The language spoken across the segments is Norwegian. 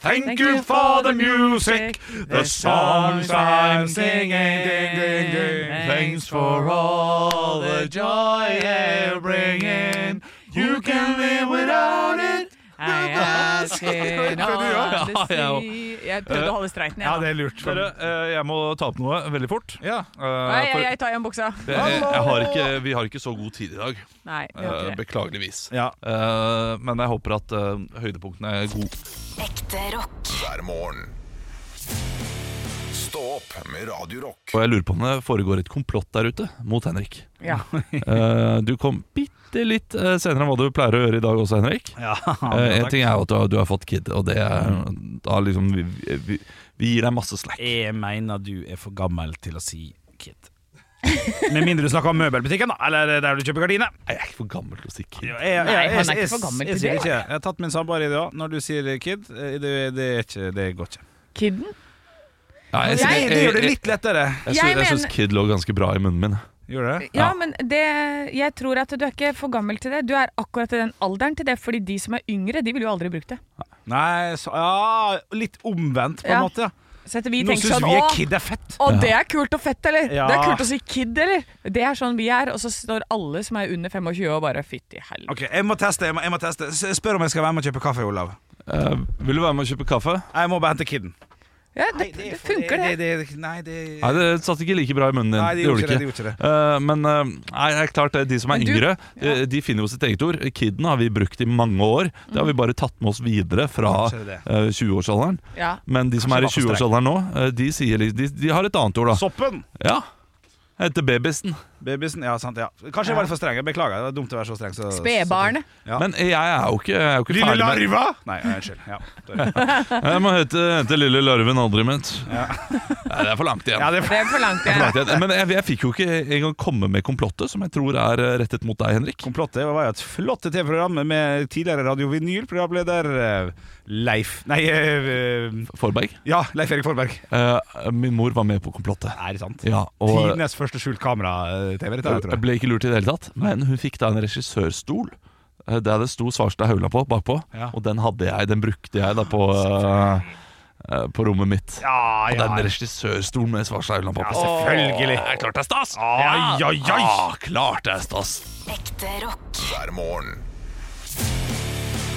thank, you for the music, the songs I'm singing. Ding, ding, ding. Thanks for all the joy they're bringing. You can live without it. I ask it Prøvde du all også? the Ja, jeg sea. Jeg prøvde å holde streiten, Ja, jeg. da. det er lurt. Dere, eh, jeg må ta opp noe veldig fort. Ja. Eh, Nei, for- jeg, jeg tar igjen buksa. Det- Jeg, jeg har ikke, vi har ikke så god tid i dag, Nei, eh, det gjør ikke det. beklageligvis. Ja. Eh, men jeg håper at eh, høydepunktene er gode. Ekte rock. hver morgen. Stå opp med Radio Rock. Og jeg lurer på om det foregår et komplott der ute mot Henrik. Ja. Eh, du kom bitte litt eh, senere enn hva du pleier å gjøre i dag også, Henrik. Ja, Eh, en takk. ting er jo at du har, du har fått kid, og det er da liksom vi, vi, vi gir deg masse slack. Jeg mener du er for gammel til å si kid. Med mindre du snakker om møbelbutikken, da. Eller der du kjøper gardiner. Jeg er ikke for gammel til å si kid. Jeg- jeg- Nei, han er jeg- ikke jeg- for gammel jeg til sier det. ikke det. Jeg har tatt min samboer i det òg. Når du sier kid, eh, det, det, er ikke, det går ikke. Kidden? Ja, jeg, Jeg- jeg, Det gjør det jeg, litt lettere. jeg, Jeg sy- jeg syns mener- kid lå ganske bra i munnen min. Gjør det? Ja, Ja. men det, jeg tror at du er ikke for gammel til det. Du er akkurat i den alderen til det, fordi de som er yngre, de ville jo aldri brukt det. Nei, så, ja, litt omvendt, på en Ja. måte. Ja. Så etter vi Nå tenker syns sånn, vi er å, kid er fett. å, det er kult og fett, eller? Ja. Det er kult å si kid, eller? Det er sånn vi er, og så står alle som er under 25 år bare, fytti helvete. Ok, Jeg må teste. jeg må, jeg må teste S- Spør om jeg skal være med og kjøpe kaffe, Olav. Eh, vil du være med og kjøpe kaffe? Jeg må bare hente kiden. Ja, det, det funker det. det, det- Nei, det Nei, det satt ikke like bra i munnen din. Nei, de gjorde ikke det. De gjorde ikke det. Eh, men eh, nei, det er klart eh, de som er Men du- yngre, eh, de finner jo sitt eget ord. Kidden har vi brukt i mange år. Det Mm. har vi bare tatt med oss videre fra Kanskje det. eh, 20-årsalderen. Ja. Men de som Kanskje er i bare for streng. 20-årsalderen nå, eh, de, sier, litt- de, de har et annet ord, da. Soppen! Ja. Heter babysen. Babysen. Ja, sant. ja Kanskje jeg var litt for streng. jeg Beklager. Det var dumt å være så streng. så- Spedbarnet. Ja. Men jeg er jo ikke, jeg er jo ikke Lille ferdig med larva! Nei, nei, unnskyld. Ja, sorry. Jeg må hete, hete lille larven aldri mitt. Nei, det er for langt igjen. ja, det Det er for langt, Det er for ja. langt igjen. Men jeg, jeg fikk jo ikke engang komme med komplottet, som jeg tror er eh, rettet mot deg, Henrik. Komplottet var jo et flott TV-program med tidligere Radio Vinyl-programleder eh, Leif Nei, eh, eh, Forberg. ja, Leif Erik Forberg. Eh, min mor var med på komplottet. Er det sant? Ja, og Tidenes første skjult kamera-TV, dette her, jeg tror jeg. ble ikke lurt i det hele tatt. Men hun fikk da en regissørstol. eh, Der det sto Svarstad Haugland på bakpå, Ja. og den hadde jeg, den brukte jeg da på, eh, eh, på rommet mitt. Ja, Og ja. den regissørstolen med Svarstad Haugland på. ja, på. selvfølgelig. Åh, klart det er stas! Ai, Ja. ai, ai. Ah, klart det er stas! Ekte rock. Hver morgen.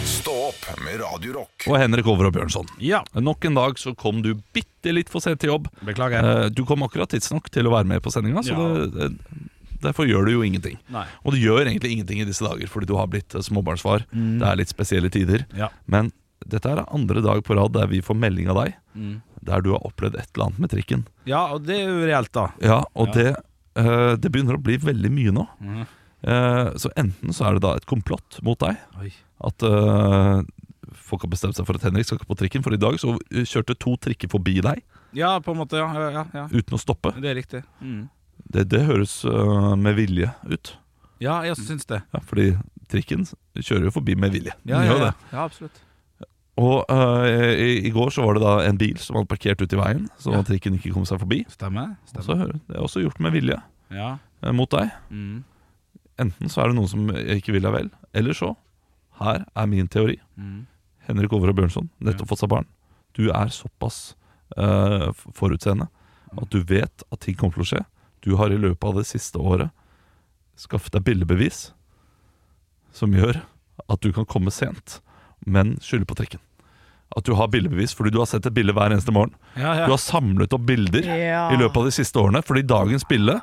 Stå opp med Radio Rock. Og Henrik Over og Bjørnson. Ja, Nok en dag så kom du bitte litt for sent til jobb. beklager. Eh, Du kom akkurat tidsnok til å være med på sendinga, så Ja. det, eh, derfor gjør du jo ingenting. Nei. Og du gjør egentlig ingenting i disse dager fordi du har blitt eh, småbarnsfar. Det er litt spesielle tider. Ja. Men dette er andre dag på rad der vi får melding av deg der du har opplevd et eller annet med trikken. ja, og det er jo reelt, da. Ja, og Det, eh, det begynner å bli veldig mye nå. Mhm. Eh, så enten så er det da et komplott mot deg. Oi. At eh, folk har bestemt seg for at Henrik skal ikke på trikken, for i dag så eh, kjørte to trikker forbi deg Ja, på en måte. Ja, ja, ja, ja. uten å stoppe. Det er riktig. Mm. Det, det høres eh, med vilje ut. Ja, jeg også syns det. Ja, fordi trikken kjører jo forbi med vilje. Ja, Den ja, gjør ja. det. ja absolutt. Og eh, i, i går så var det da en bil som hadde parkert ute i veien, så trikken ikke kom seg forbi. Og Stemmer. så Stemmer. hører- det er også gjort med vilje Ja. eh, mot deg. Mm. Enten så er det noen som ikke vil deg vel, eller så Her er min teori. Mm. Henrik Over og Bjørnson, nettopp fått seg barn. Du er såpass eh, f- forutseende at du vet at ting kommer til å skje. Du har i løpet av det siste året skaffet deg bildebevis som gjør at du kan komme sent, men skylde på trikken. At du har bildebevis fordi du har sett et bilde hver eneste morgen. Ja, ja. Du har samlet opp bilder Ja. i løpet av de siste årene, fordi dagens bilde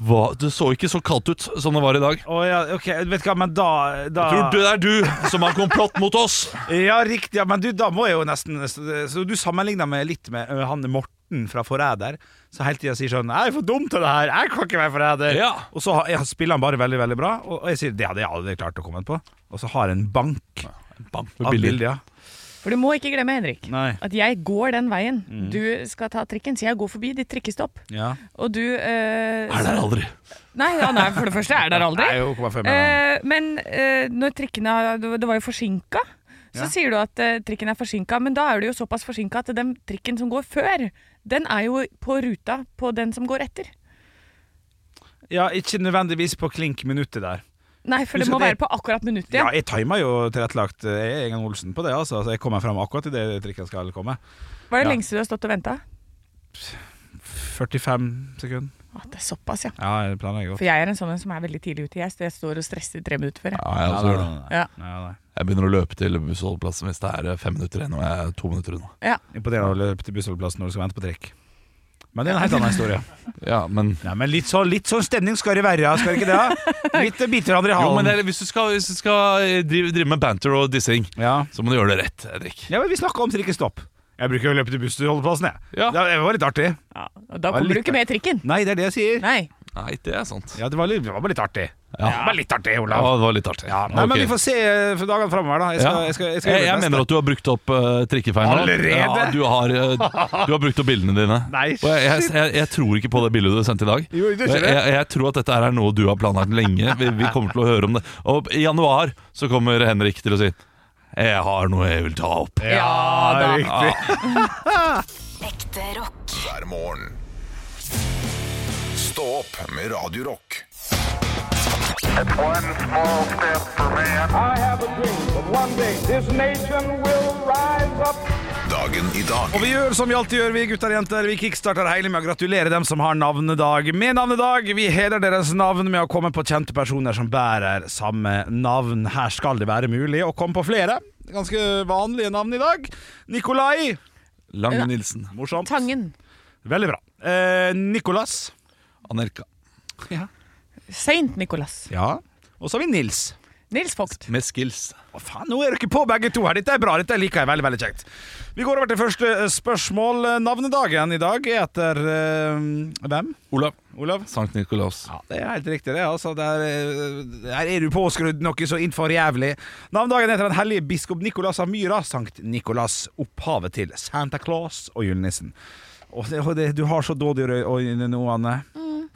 var, Det så ikke så kaldt ut som det var i dag. Å ja, ok, vet du hva, men da, da Tror du det er du som har komplott mot oss? Ja, riktig. Ja, men du, da må jeg jo nesten eh, Så du sammenligner meg litt med ø, han Morten fra Forræder, som hele tida sier sånn 'Jeg er for dum til det her. Jeg kan ikke være forræder.' Ja. Og så har- jeg, spiller han bare veldig, veldig bra, og, og jeg sier 'Det hadde jeg aldri klart å komme på'. Og så har jeg en bank Bang, av bilder. ja. For du må ikke glemme, Henrik, Nei. at jeg går den veien. Du skal ta trikken, så jeg går forbi ditt trikkestopp. Ja. Og du eh, Er der aldri! Nei, han er, for det første er der aldri. Nei, jo, kom her før meg, Eh, men eh, når trikkene har- Det var jo forsinka. Så Ja. sier du at eh, trikken er forsinka, men da er du jo såpass forsinka at den trikken som går før, den er jo på ruta på den som går etter. da. ja, ikke nødvendigvis på klink minuttet der. Nei, for det Husk må at jeg- være på akkurat minuttet. Ja, Ja. jeg timer jo tilrettelagt. eh, Jeg er Egan Olsen på det, altså. Så jeg kommer frem akkurat idet trikken skal komme. Hva er det ja. lengste du har stått og venta? 45 sekunder. Ah, det er såpass, ja. Ja, jeg planlegger godt. For jeg er en sånn en som er veldig tidlig ute. Jeg, jeg står og stresser i tre minutter før. jeg. Ja, jeg, også gjør det. Ja. Ja. Ja, nei. jeg begynner å løpe til bussholdeplassen hvis det er eh, fem minutter igjen, og jeg er to minutter unna. Imponerende å løpe til bussholdeplassen når du skal vente på trikk. Men det er en helt annen historie. Ja, men Nei, men litt, så, litt sånn stemning skal det være, skal det ikke det? Litt biter hverandre i Jo, men halen. det er- hvis du skal, hvis du skal eh, drive, drive med banter og dissing, ja. så må du gjøre det rett, Henrik. ja, men vi snakka om trikkestopp. Jeg bruker jo å løpe til bussholdeplassen, jeg. Ja. Det var litt artig. Ja, og da var kommer du litt ikke med i trikken. Nei, det er det jeg sier. Nei. Nei, det er sant. Ja, det var, litt, det var bare litt artig. Ja. Det var litt artig, Ja, Olav. det var litt artig. Ja, nei, men Ok. vi får se eh, for dagene framover, da. Jeg skal, Ja. jeg skal, jeg skal jeg, gjøre jeg mitt beste. mener at du har brukt opp uh, trikkefeilene. Allerede? Ja, du har, eh, du har brukt opp bildene dine. Nei, og jeg, jeg, jeg, jeg tror ikke på det bildet du sendte i dag. Jo, du jeg, ser det. jeg, jeg tror at dette her er noe du har planlagt lenge. Vi, vi kommer til å høre om det. Og i januar så kommer Henrik til å si Jeg har noe jeg vil ta opp. Ja da. riktig. Ekte rock. hver morgen. Stå opp med Radio Rock. One small step for man. I have a dream that one day this nation will rise up. Dagen i dag Og vi gjør som vi alltid gjør, vi gutter og jenter. Vi kickstarter hele med å gratulere dem som har navnedag med navnedag. Vi hedrer deres navn med å komme på kjente personer som bærer samme navn. Her skal det være mulig å komme på flere. Ganske vanlige navn i dag. Nikolai. Lange Nilsen. Morsomt. Tangen. Veldig bra. Eh, Nikolas. Anerka. Saint Nicholas. Ja. Og så har vi Nils. Nils Vogt. Med skills. Å, faen, nå er dere på begge to her. Dette er bra. Dette liker jeg veldig veldig kjekt. Vi går over til første eh, spørsmål. Navnedagen i dag er etter eh, hvem? Olav. Olav? Sankt Nikolaus. Ja, det er helt riktig det, altså. Der, eh, her er du påskrudd noe så innenfor jævlig. Navnedagen heter den hellige biskop Nikolas av Myra, Sankt Nikolas, opphavet til Santa Claus og julenissen. Og det, og det, du har så dårlige øyne nå, Anne.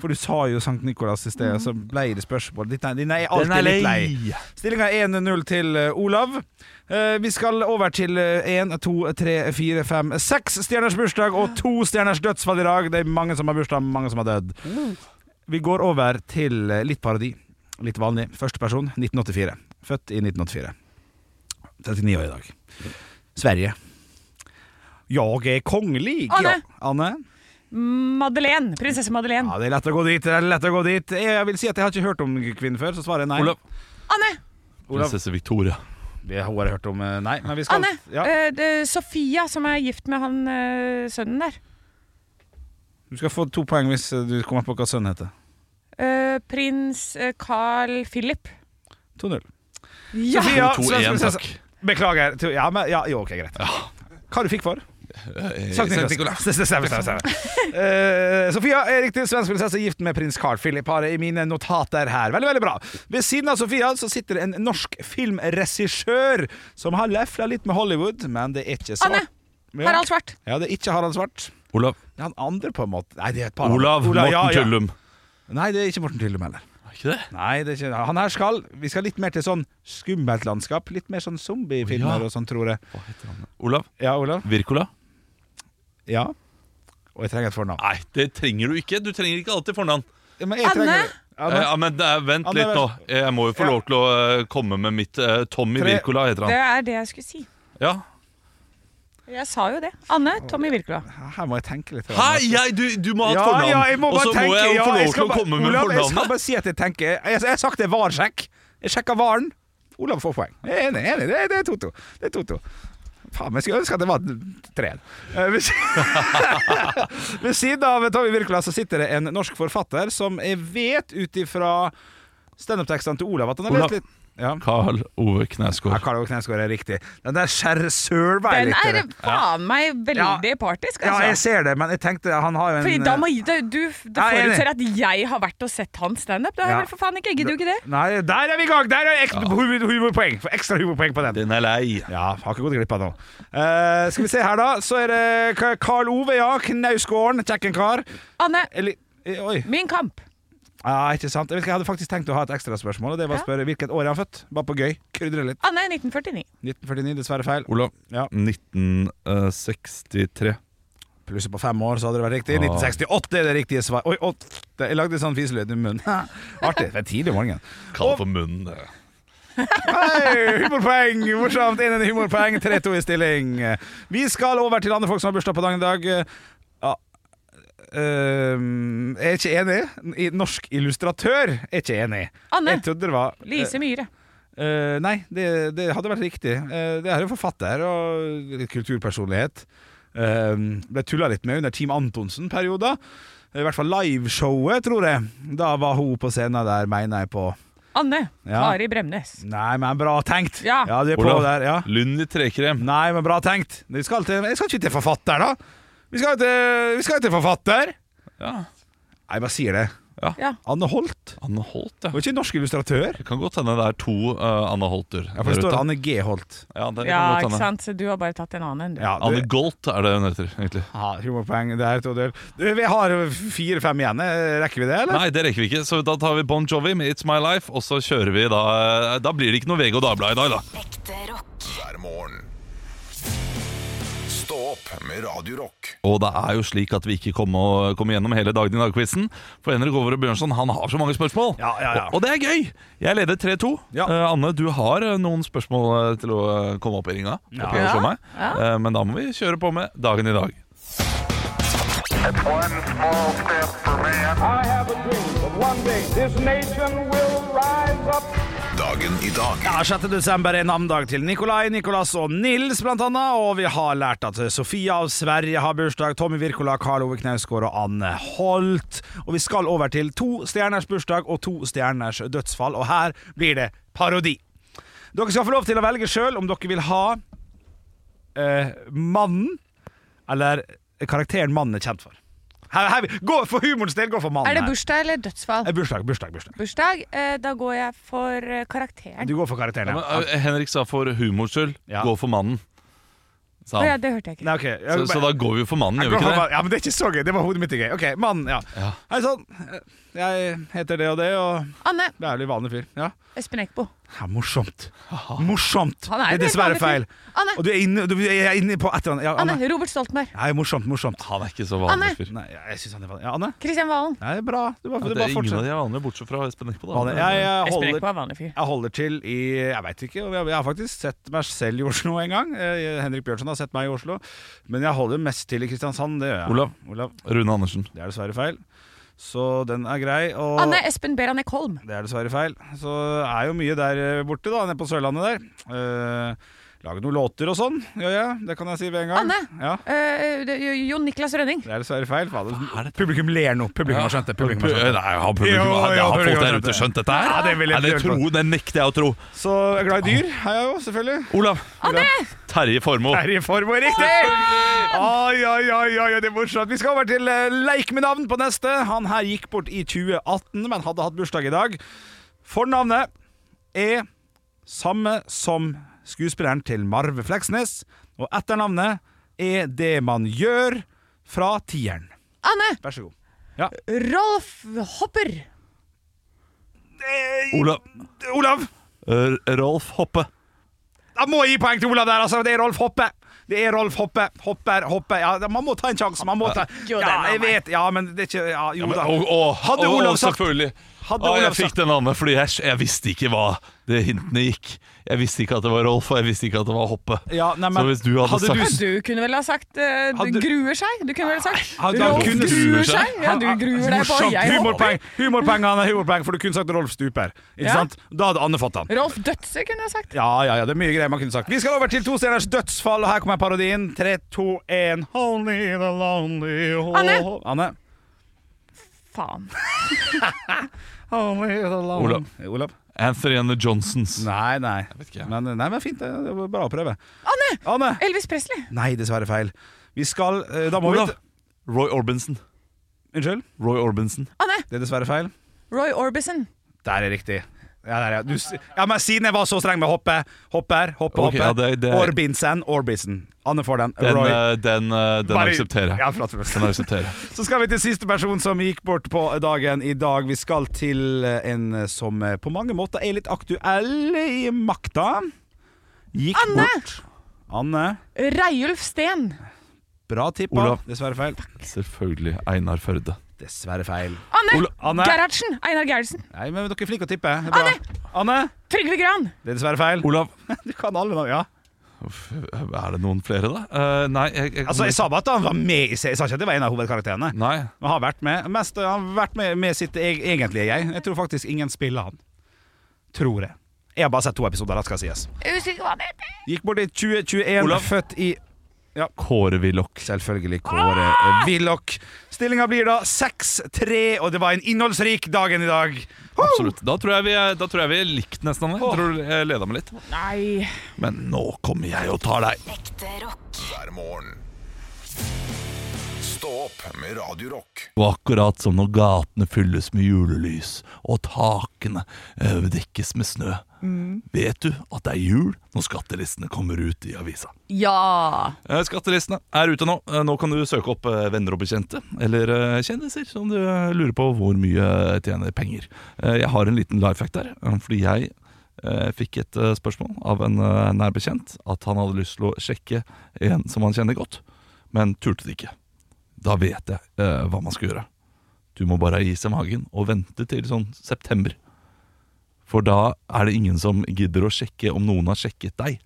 For du sa jo Sankt Nikolas i sted, så ble det spørsmål. Ditt- Dine Mm. er alltid litt lei. Stillinga er 1-0 til eh, Olav. Eh, Vi skal over til eh, 1, 2, 3, 4, 5, 6 stjerners bursdag og to stjerners dødsfall i dag. Det er mange som har bursdag, mange som har dødd. Vi går over til eh, litt parodi. Litt vanlig. Første person 1984. Født i 1984. 39 år i dag. Sverige. Jeg er kongelig. ja. Anne. Anne. Madeleine. Prinsesse Madeleine. Ja, det er lett å gå dit. Det er lett å gå dit. Jeg vil si at jeg har ikke hørt om kvinnen før, så svarer jeg nei. Olav. Anne! Olav. Prinsesse Victoria. Vi har bare hørt om eh, nei, men vi skal Anne! Ja. Eh, det- Sofia, som er gift med han eh, sønnen der. Du skal få to poeng hvis eh, du kommer på hva sønnen heter. Eh, prins eh, Carl Philip. 2-0. Ja! Sofia, 2-1, svensk prinsesse. takk. Beklager. To- Ja, men, ja, jo, ok, greit. Hva du fikk for? Eh, Sankt Eh, Niklas. Det- det Stemmer, stemmer, stemmer. Eh, Sofia er riktig svensk prinsesse, gift med prins Carl Philip. Har jeg i mine notater her. Veldig, veldig bra. Ved siden av Sofia så sitter en norsk filmregissør som har lefla litt med Hollywood, men det er ikke så Anne! Ja. Harald Svart. Ja, det er ikke Harald Svart. Olav. Det er han andre, på en måte. Nei, det er et par Olav. andre. Morten ja, ja. Tullum. Nei, det er ikke Morten Tyllum heller. Er ikke det? Nei, det er ikke Han her skal Vi skal litt mer til sånn skummelt landskap. Litt mer sånn zombiefilmer Å, ja. og sånn, tror jeg. Hva heter han? Olav. Ja, Olav? Virkola. Ja. Og jeg trenger et fornavn. Nei, det trenger du ikke. Du trenger ikke alltid fornavn. Men jeg Anne? trenger- Eh, Anne? Ja, men eh, Vent Anne, litt nå. vær- Jeg må jo få Ja. lov til å eh, komme med mitt eh, Tommy Tre- Wirkola heter Det han. er det jeg skulle si. Ja. Jeg sa jo det. Anne Tommy Wirkola. Her må jeg tenke litt. Hæ, jeg, du, du må ha et Ja, fornavn! ja, jeg må og bare så tenke. må jeg jo ja, få lov skal til å bare- komme med Olav, jeg skal fornavnet. bare si at jeg tenker Jeg, jeg har sagt det er varsjekk. Jeg sjekka varen. Olav får poeng. Jeg er enig. jeg er enig. Det, det er 2-2. Det er 2-2. Faen, jeg skulle ønske at det var tre. Eh, Ved, si- ved siden av Tommy Wirkola så sitter det en norsk forfatter som jeg vet ut ifra standup-tekstene til Olav at han har Olav. lest litt Ja. Carl Ove Ja, Knausgård. Karl Ove Knausgård er riktig. Den der skjærsølva er Den litt er det. faen meg veldig Ja. partisk, Ja, jeg altså. ser det, men jeg tenkte han har jo en Fordi da må du, du Det Ja, jeg er enig. forutser at jeg har vært og sett hans standup. Det har Ja. jeg vel for faen ikke. Gidder du ikke det? Nei, der er vi i gang! Der er ek humor- humorpoeng. Få Ekstra humorpoeng på den. Den er lei. Ja, har ikke gått glipp av noe. Eh, skal vi se her, da. Så er det Ka- Karl Ove, ja. Knausgården. Kjekken kar. Anne, Eller eh, Oi. min kamp. Ja, ikke sant. Jeg, vet ikke, jeg hadde faktisk tenkt å ha et ekstraspørsmål. og Det var å Ja. spørre hvilket år er han født. Bare på gøy. Krydre litt. Anne er 1949. 1949, dessverre feil. Olav. Ja. 1963. Plusset på fem år, så hadde det vært riktig. 1968 er det riktige svar. Oi, åt, jeg lagde sånn fiselyd i munnen. Artig. Det er tidlig om morgenen. Kall det for munnen. det. Hei, humorpoeng! Morsomt. Inn en humorpoeng. 3-2 i stilling. Vi skal over til andre folk som har bursdag på dagen i dag. Ja. ehm, jeg er ikke enig. I- Norsk illustratør er ikke enig. Anne. Jeg trodde det var Lise Myhre. Eh, nei, det, det hadde vært riktig. Eh, det er jo forfatter og litt kulturpersonlighet. Eh, ble tulla litt med under Team Antonsen-perioder. I hvert fall liveshowet, tror jeg. Da var hun på scenen der, mener jeg på. Anne. Ja. Kari Bremnes. Nei, men bra tenkt! Ja. du er på Olav. der, ja. Lund i trekrem. Nei, men bra tenkt. Vi skal til, jeg skal ikke til forfatter, da. Vi skal til, vi skal til forfatter. Ja. Nei, jeg bare sier det. Ja. Anne Holt. Anne Holt, ja. Hun er ikke norsk illustratør. Det kan godt hende det er to eh, Anne Holter. Ja, for det der står ute. Anne G. Holt. ja, det ja, kan godt ikke hende. sant? Så du har bare tatt en annen enn du. Ja, Anne det- Golt er det hun heter, egentlig. Ja, humorpoeng. Det er to del. Du, vi har fire-fem igjen. Eh, Rekker vi det, eller? Nei, det rekker vi ikke, så da tar vi Bon Jovi med It's My Life, og så kjører vi da eh, Da blir det ikke noe VG og Dagbladet i dag, da. Ekte rock. hver morgen. Stå opp med Radio Rock. Og det er jo slik at vi ikke kommer kom gjennom hele dagen i dagquizen. For Henrik Over og Bjørnson han har så mange spørsmål. Ja, ja, ja. Og, og det er gøy! Jeg leder 3-2. Ja. Eh, Anne, du har eh, noen spørsmål eh, til å eh, komme opp i ringa. oppi Ja. hos meg. Ja. Eh, Men da må vi kjøre på med dagen i dag. It's one small step for man. I have a dream that one day this nation will rise up. Dagen i dag Ja, 6. desember er navndag til Nikolai, Nikolas og Nils, blant annet. Og vi har lært at Sofia av Sverige har bursdag, Tommy Wirkola, Karl Ove Knausgård og Anne Holt. Og vi skal over til to stjerners bursdag og to stjerners dødsfall, og her blir det parodi. Dere skal få lov til å velge sjøl om dere vil ha eh, mannen eller karakteren mannen er kjent for. Her, her, gå for humorens del, gå for mannen. Er det her. bursdag eller dødsfall? Eh, Bursdag, bursdag, bursdag. Bursdag. Eh, da går jeg for eh, karakteren. Du går for karakteren, Men, ja. eh, Henrik sa for humors skyld Ja. gå for mannen. Sa Å ja, han. det hørte jeg ikke. Nei, ok. Jeg- Så, så da går vi jo for mannen, Jeg gjør vi går ikke for det? mann. Ja, men det er ikke så gøy. Det var hodet mitt i gøy. Ok, mann, ja. Ja. Hei sann, eh, jeg heter det og det, og Anne det er litt vanlig fyr. Ja. Espen Eckbo. ja morsomt. Morsomt. Han er det en er dessverre helt vanlig feil. fyr. Anne. Og du er inne, du er inne på et eller annet. Ja, Anne. Anne. Robert Stoltenberg. Nei, morsomt, morsomt. Han er ikke så vanlig Anne! fyr. Nei, jeg syns han er vanlig. Ja, Anne? Kristian Valen. Nei, bra. Du bare, Ja, du det er ingen bare av fortsett. de er vanlige, bortsett fra Espen Eckbo. da. Vanlig. Jeg, jeg, Espen Eckbo holder, er vanlig fyr. jeg holder til i Jeg veit ikke. Jeg, jeg har faktisk sett meg selv i Oslo en gang. Eh, Henrik Bjørnson har sett meg i Oslo. Men jeg holder mest til i Kristiansand. Det gjør jeg. Olav. Olav. Rune Andersen. Det er dessverre feil. Så den er grei. Og Anne Espen Beranek Holm. Det er dessverre feil. Så det er jo mye der eh, borte, da, nede på Sørlandet der. Eh, Lager noen låter og sånn, gjør jeg. Det kan jeg si ved en gang. Anne! Ja, Eh, det- Jon Niklas Rønning. det er dessverre feil. Fader. Publikum ler nå. Publikum har skjønt det. Publikum har skjønt det. Nei, har publikum, sånn. Jo, har, jo, har folk der publikum har skjønt ute det. skjønt dette her? sånn. Ja, det vil jeg Nei, det, tro. tro, det nekter jeg å tro. Så jeg er glad i dyr, er jeg jo, selvfølgelig. Olav. Anne! Terje Formoe. Terje Formoe, riktig! Oi, oi, oi, oi, det er morsomt. Vi skal over til eh, Leik med navn på neste. Han her gikk bort i 2018, men hadde hatt bursdag i dag. Fornavnet er samme som skuespilleren til Marve Fleksnes, og etternavnet er det man gjør fra tieren. Anne! Vær så god. Rolf Hopper. Olav. Olav! R- Rolf Hoppe. Da må jeg gi poeng til Olav der, altså. Det er Rolf Hoppe. Det er Rolf Hoppe. Hopper, Hoppe. Ja, da- man må ta en sjanse. Man må ta Jo, det er Ja, meg. jeg vet. Ja, men det er ikke Ja, jo da. Og, og, Hadde og, Olav og sagt selvfølgelig. Hadde ah, Olav jeg fikk sagt- den andre fordi jeg, jeg visste ikke hva det hintene gikk. Jeg visste ikke at det var Rolf, og jeg visste ikke at det var Hoppe. Ja, nei, Så men hvis du hadde, hadde du- sagt Du kunne vel ha sagt eh, du Hadde- gruer seg? Du kunne vel ha sagt Han- han Rolf kunne- gruer seg? Ja, du Han- gruer deg på Morsomt. jeg hopper. Humorpoeng, humorpoeng, Anne, humorpoeng, for du kunne sagt Rolf Stuper. Ikke Ja. sant? Da hadde Anne fått han. Rolf Dødse kunne jeg sagt. Ja, ja, ja, det er mye greier man kunne sagt. Vi skal over til to stjerners dødsfall, og her kommer parodien. Tre, to, én Only the lonely ho- Anne. Anne. Faen. Only the lonely Olav. Olav. Anthony and the Johnsons. Nei, nei. vet ikke. Men, nei, men fint. Det det var bra å prøve. Anne! Anne! Elvis Presley. Nei, dessverre feil. Vi skal eh, Da må vi Olav. Roy Orbinson. Unnskyld? Roy Orbinson. Anne! Det er dessverre feil. Roy Orbison. Der er riktig. Ja, der, ja. Du, s- ja, men siden jeg var så streng med hoppe, hopper, hoppe, Ok, hoppe ja, det- det- Orbinsen, Orbisen. Anne får den. Den, Roy. eh, den, eh, den Bare- aksepterer Ja, jeg. flott, flott. Den aksepterer sånn jeg. Så skal vi til siste person som gikk bort på dagen i dag. Vi skal til eh, en som på mange måter er litt aktuell i makta. Gikk Anne! bort. Anne. Reiulf Steen. Bra tippa. Olav. Dessverre feil. Selvfølgelig Einar Førde. Dessverre feil. Anne! Ola- Anne. Gerhardsen. Einar Gerhardsen. Nei, men dere er flinke å tippe. Det er bra. Anne! Trygve Gran. Det er dessverre feil. Olav, Du kan alle navn, ja. uff, er det noen flere, da? Eh, nei, jeg, jeg Altså, Jeg sa bare at han var med i serien. Jeg sa ikke at det var en av hovedkarakterene. Nei. Han har vært med Mest han har vært med, med sitt e egentlige jeg. Jeg tror faktisk ingen spiller han. Tror jeg. Jeg har bare sett to episoder, det skal sies. Usikker hva det heter. Gikk bort i 2021, Olav. født i Kåre Willoch. Selvfølgelig Kåre Willoch. Stillinga blir da 6-3, og det var en innholdsrik dagen i dag. Ho! Absolutt. Da tror jeg vi, da tror jeg vi er likt nesten, Anne. Jeg tror jeg leda meg litt. Nei. Men nå kommer jeg og tar deg. Ekte rock. hver morgen. Stå opp med Radio Rock. Og akkurat som når gatene fylles med julelys og takene eh, dekkes med snø. Mm. Vet du at det er jul når skattelistene kommer ut i avisa? Ja. Eh, Skattelistene er ute nå. Eh, Nå kan du søke opp eh, venner og bekjente, eller eh, kjendiser, som du eh, lurer på hvor mye eh, tjener penger. Eh, Jeg har en liten life hack der, eh, fordi jeg eh, fikk et eh, spørsmål av en eh, nær bekjent at han hadde lyst til å sjekke en som han kjenner godt, men turte det ikke. Da vet jeg eh, hva man skal gjøre. Du må bare ha is i magen og vente til sånn september. For da er det ingen som gidder å sjekke om noen har sjekket deg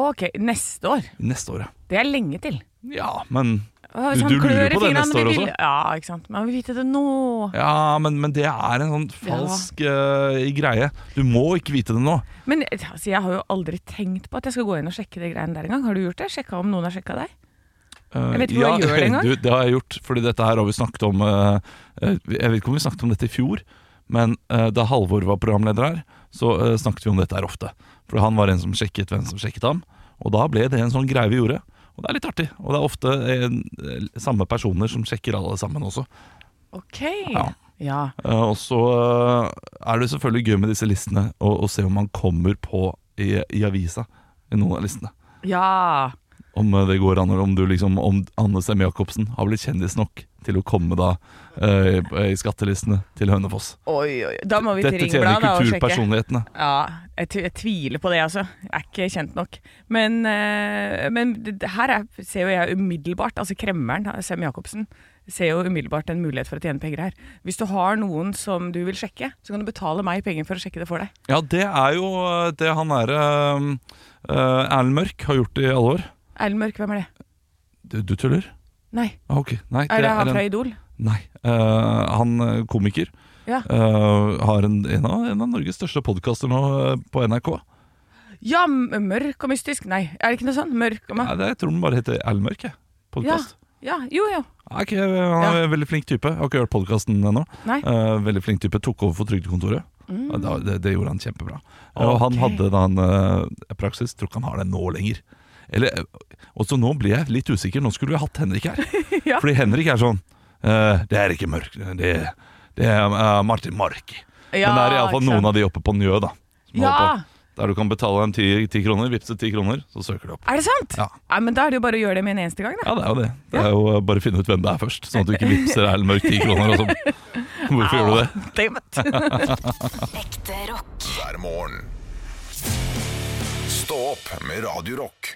Ok, neste år. neste året. Det er lenge til. Ja, men Åh, Du- sånn du lurer klør på i det fingrene, neste men år vil- også? Ja, ikke sant. Man vil vite det nå. Ja, men, men det er en sånn falsk eh, greie. Du må ikke vite det nå. Men altså, jeg har jo aldri tenkt på at jeg skal gå inn og sjekke de greiene der engang. Har du gjort det? Sjekka om noen har sjekka deg? Eh, Jeg vet ikke hvor jeg gjør det engang. Du, det har jeg gjort, fordi dette her har vi snakket om eh, eh, Jeg vet ikke om vi snakket om dette i fjor, men eh, da Halvor var programleder her, så eh, snakket vi om dette her ofte. For han var en som sjekket hvem som sjekket ham, og da ble det en sånn greie vi gjorde. Og det er litt artig. Og det er ofte eh, samme personer som sjekker alle sammen også. Ok. Ja. ja. Eh, Og så eh, er det selvfølgelig gøy med disse listene å, å se om man kommer på i, i avisa i noen av listene. Ja. Om eh, det går an, eller om, du liksom, om Anne Semme Jacobsen har blitt kjendis nok til å komme da eh, i skattelistene til Hønefoss. Oi, oi. Da må vi til Dette tjener Ringbladet da, og sjekke. kulturpersonlighetene. Ja, jeg, tv- jeg tviler på det, altså. Jeg er ikke kjent nok. Men, eh, men det, det her er, ser jo jeg umiddelbart, altså kremmeren, Sem Jacobsen, ser jo umiddelbart en mulighet for å tjene penger her. Hvis du har noen som du vil sjekke, så kan du betale meg penger for å sjekke det for deg. Ja, det er jo eh, det han derre Erlend Mørk har gjort i alle år. Erlend Mørk, hvem er det? Du, du tuller? Nei, Ah, ok. Nei, er det han en- fra Idol? Nei. eh, han eh, komiker Ja. eh, har en, en, av, en av Norges største podkaster nå eh, på NRK. Ja, m- mørk og mystisk. Nei, er det ikke noe sånn? Mørk og Nei, mørk. det, jeg tror den bare heter Erlend Mørk. jeg. Ja, Podkast. ja, jo, jo. Ja, ikke- Han er en veldig flink type. Jeg har ikke hørt podkasten ennå. Nei. Mm. Eh, veldig flink type. Tok over for Trygdekontoret. Ja, da- Det, det gjorde han kjempebra. Og han hadde da en eh, praksis. Tror ikke han har det nå lenger. Eller, eh, og så nå blir jeg litt usikker. Nå skulle vi hatt Henrik her. Ja. Fordi Henrik er sånn eh, Det er ikke mørkt. Det, det er eh, Martin Mark. Men det er Ja, iallfall ikke sant. noen av de oppe på Njø, da. Som Ja. holder på. Der du kan betale dem ti ti kroner, vippse ti kroner, så søker du opp. Er det sant? Ja. Nei, men da er det jo bare å gjøre det med en eneste gang, da. Ja, det er jo det. Det er jo eh, Bare finne ut hvem det er først, sånn at du ikke vippser Erlend Mørk ti kroner. Og sånn. Hvorfor gjør du det? Damn it. Ekte rock. hver morgen. Stå opp med Radio Rock.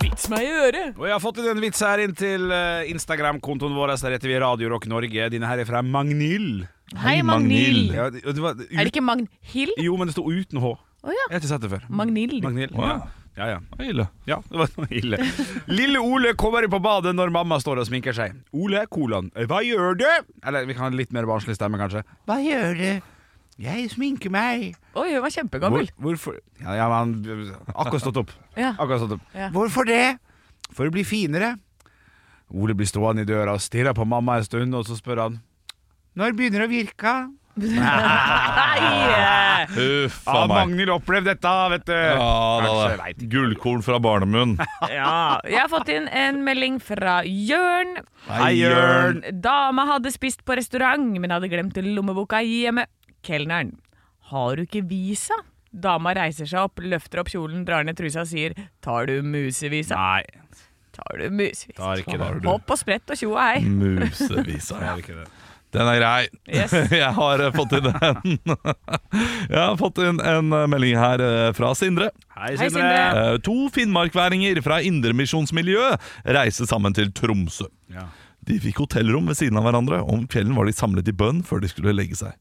Vits meg i øret. Og jeg har fått inn en vits her inn til eh, Instagram-kontoen vår. Der heter vi Radio Rock Norge. Dine her er fra Magnhild. Hei, Magnhild. Ja, det- og det var ut- Er det ikke Magnhild? Jo, men det sto uten H. Å ja. Jeg har ikke sett det før. Magnhild. Magnhild. Å, Ja. ja. Ja, ja. Det er ille. Ja, det var noe ille. Lille Ole kommer på badet når mamma står og sminker seg. Ole, kolon, hva gjør du? Eller vi kan ha en litt mer barnslig stemme, kanskje. Hva gjør du? Jeg sminker meg. Oi, hun var kjempegammel. hvorfor? Ja, ja, men han akkurat stått opp. Ja. Akkurat stått opp. Ja. Hvorfor det? For å bli finere. Ole blir stående i døra og stirrer på mamma en stund, og så spør han Når begynner det å virke? Ah. Nei! Uff Ja, a meg. Magnhild opplevde dette, vet du. Ja, da, Kanskje, jeg da. vet ikke. Gullkorn fra barnemunn. Ja. Jeg har fått inn en melding fra Jørn. Hei, Jørn. Dama hadde spist på restaurant, men hadde glemt lommeboka hjemme. Kelneren. Har du ikke visa? Dama reiser seg opp, løfter opp kjolen, drar ned trusa og sier Tar du musevisa? Nei, Tar du musevisa? tar Mm. ikke det. Har du Hopp og sprett og tjo og hei. musevisa? Ja. Tar ikke det. Den er grei. Yes. Jeg har eh, fått inn en Jeg har fått inn en eh, melding her eh, fra Sindre. Hei, Hei, Sindre. Sindre. Eh, To finnmarkværinger fra indremisjonsmiljø reiser sammen til Tromsø. Ja. De fikk hotellrom ved siden av hverandre, og om kvelden var de samlet i bønn før de skulle legge seg.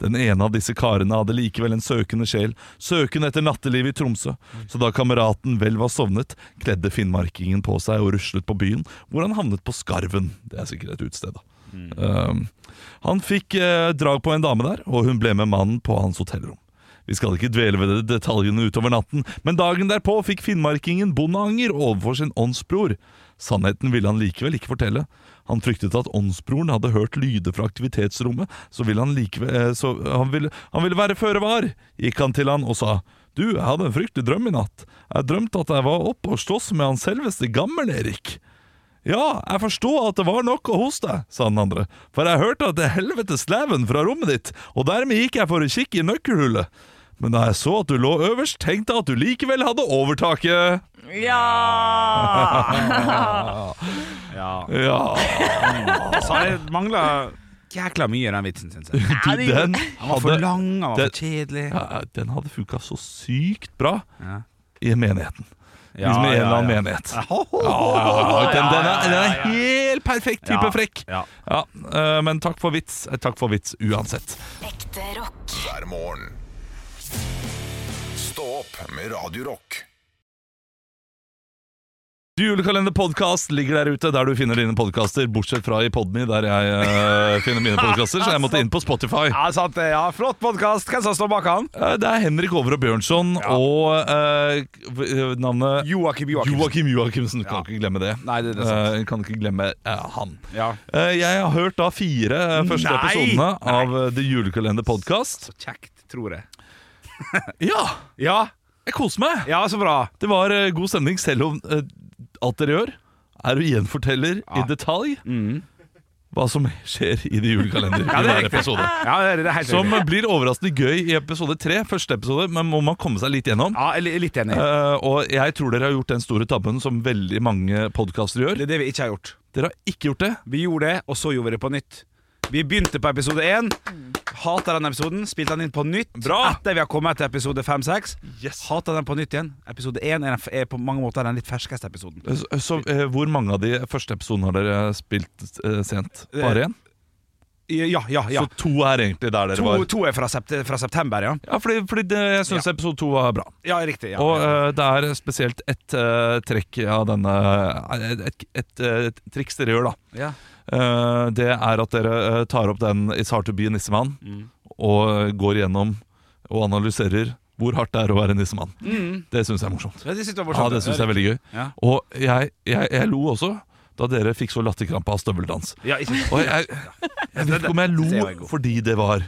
Den ene av disse karene hadde likevel en søkende sjel, søkende etter nattelivet i Tromsø, så da kameraten vel var sovnet, kledde finnmarkingen på seg og ruslet på byen, hvor han havnet på Skarven. Det er sikkert et utested, da. Um, han fikk eh, drag på en dame der, og hun ble med mannen på hans hotellrom. Vi skal ikke dvele ved det- detaljene utover natten, men dagen derpå fikk finnmarkingen bondeanger overfor sin åndsbror. Sannheten ville han likevel ikke fortelle. Han fryktet at åndsbroren hadde hørt lyder fra aktivitetsrommet, så, ville han, likevel, eh, så han, ville, han ville være føre var, gikk han til han og sa. Du, jeg hadde en fryktelig drøm i natt. Jeg drømte at jeg var oppe og slåss med han selveste Gammel-Erik. Ja, jeg forstod at det var nok å hos deg, sa den andre, for jeg hørte at det helvetes sleven fra rommet ditt, og dermed gikk jeg for å kikke i nøkkelhullet. Men da jeg så at du lå øverst, tenkte jeg at du likevel hadde overtaket. Ja! Ja. Ja, Så har det mangla jækla mye i den vitsen, syns jeg. Ja, du, det- den Han var for hadde, lang, han var det- for kjedelig. ja, den hadde funka så sykt bra Ja. i menigheten. Liksom i en eller annen menighet. Ja, ja, den, den, er, den er helt perfekt type Ja, frekk. ja. Ja, eh, men takk for vits. Eh, Takk for vits uansett. Ekte rock. hver morgen. Stå opp med Radio Rock. Julekalenderpodkast ligger der ute der du finner dine podkaster, bortsett fra i Podme, der jeg eh, finner mine podkaster, så jeg måtte inn på Spotify. Ja, sant det. Ja, flott podkast. Hvem som står bak han? Eh, Det er Henrik Over og Bjørnson og eh, v- navnet Joakim Joakim. Joakim Joakimsen. Kan ikke glemme det. Nei, det, det er sant. Eh, kan ikke glemme eh, han. Ja. Eh, jeg har hørt da fire eh, første Nei! episodene av eh, The Julekalender Podcast. Kjekt, tror jeg. Ja! Ja, Jeg koser meg! ja, så bra. Det var eh, god stemning, selv om eh, alt dere gjør, er å gjenforteller i detalj hva som skjer i det julekalender i det er hver episode. Mm. Ja, det, det er helt Som riktig. blir overraskende gøy i episode tre, første episode, men må man komme seg litt gjennom. Ja, jeg er litt enig. Eh, og jeg tror dere har gjort den store tabben som veldig mange podkaster gjør. Det er det vi ikke har gjort. Dere har ikke gjort det. Vi gjorde det, og så gjorde vi det på nytt. Vi begynte på episode 1. Hata den episoden. Spilte den inn på nytt Bra! etter vi har kommet til episode 5-6. Yes. Hata den på nytt igjen. Episode 1 er, den f- er på mange måter den litt ferskeste episoden. Så, så eh, hvor mange av de første episodene har dere spilt eh, sent? Bare én? Ja, ja, ja. Så to er egentlig der dere To, var? to er fra, sept fra september, ja. Ja, fordi, fordi det, jeg syns episode to var bra. Ja, riktig. Ja. Og eh, det er spesielt et eh, trekk av denne Et, et, et, eh, triks dere gjør, da. ja. Eh, det er at dere eh, tar opp den It's hard to be a nissemann Mm. og eh, går gjennom og analyserer hvor hardt det er å være nissemann. Det syns jeg er morsomt. Ja, Mm. det synes jeg var Ja, morsomt. det syns jeg er veldig gøy. Ja. Og jeg, jeg, jeg lo også da dere fikk så latterkrampe av støveldans. Ja, ikke sant? Og jeg, jeg vet ikke om jeg Det var lo god. fordi det var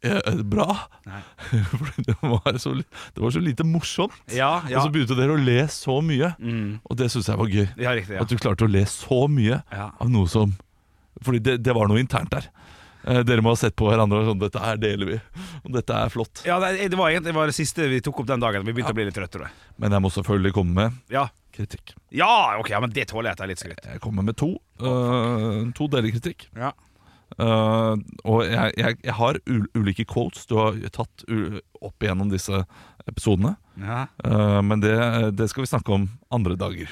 eh, bra. Nei. Fordi det var, så, li- det var så lite morsomt. ja, ja. Og så begynte dere å le så mye, Mm. og det syns jeg var gøy. ja, riktig. Ja. At du klarte å le så mye Ja. av noe som Fordi det, det var noe internt der. Eh, dere må ha sett på hverandre og sånn 'Dette her deler vi', og 'dette er flott'. Ja, det, det var egentlig det, var det siste vi tok opp den dagen. Vi begynte å bli litt trøtte. tror jeg. Men jeg må selvfølgelig komme med Ja. kritikk. ja, ok, ja, men det tåler jeg at det er litt skryt. Jeg kommer med to. eh, to deler kritikk. Ja. Eh, og jeg, jeg, jeg har ul ulike quotes du har tatt u opp igjennom disse episodene. Ja. Eh, men det, det skal vi snakke om andre dager.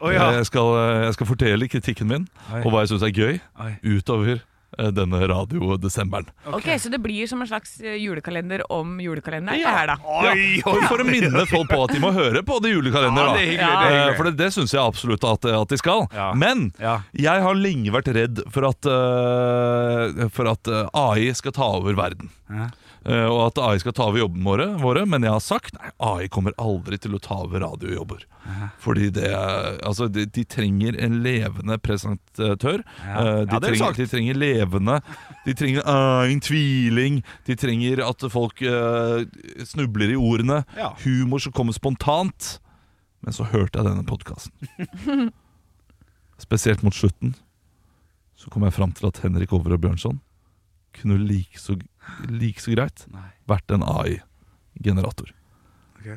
Å, ja. jeg, skal, jeg skal fortelle kritikken min Oi. og hva jeg syns er gøy, Oi. utover eh, denne radiodesemberen. Ok, Så det blir som en slags eh, julekalender om julekalenderen? det her, da. Oi, For, oi, for å minne folk på at de må høre på det julekalender, Ja, da. det er hyggelig, det Eh, er hyggelig. For det, det syns jeg absolutt at, at de skal. Ja. Men Ja. jeg har lenge vært redd for at, eh, for at eh, AI skal ta over verden. Ja. eh, og at AI skal ta over jobbene våre, våre, men jeg har sagt nei, AI kommer aldri til å ta over radiojobber. Fordi det er- Altså, de, de trenger en levende presentatør. Eh, de, Ja. Ja, det har du trenger, sagt. de trenger levende De trenger eh, en tviling. De trenger at folk eh, snubler i ordene. Ja. Humor som kommer spontant. Men så hørte jeg denne podkasten. Spesielt mot slutten så kom jeg fram til at Henrik Over og Bjørnson kunne like så, like så greit Nei. vært en AI-generator. Ok.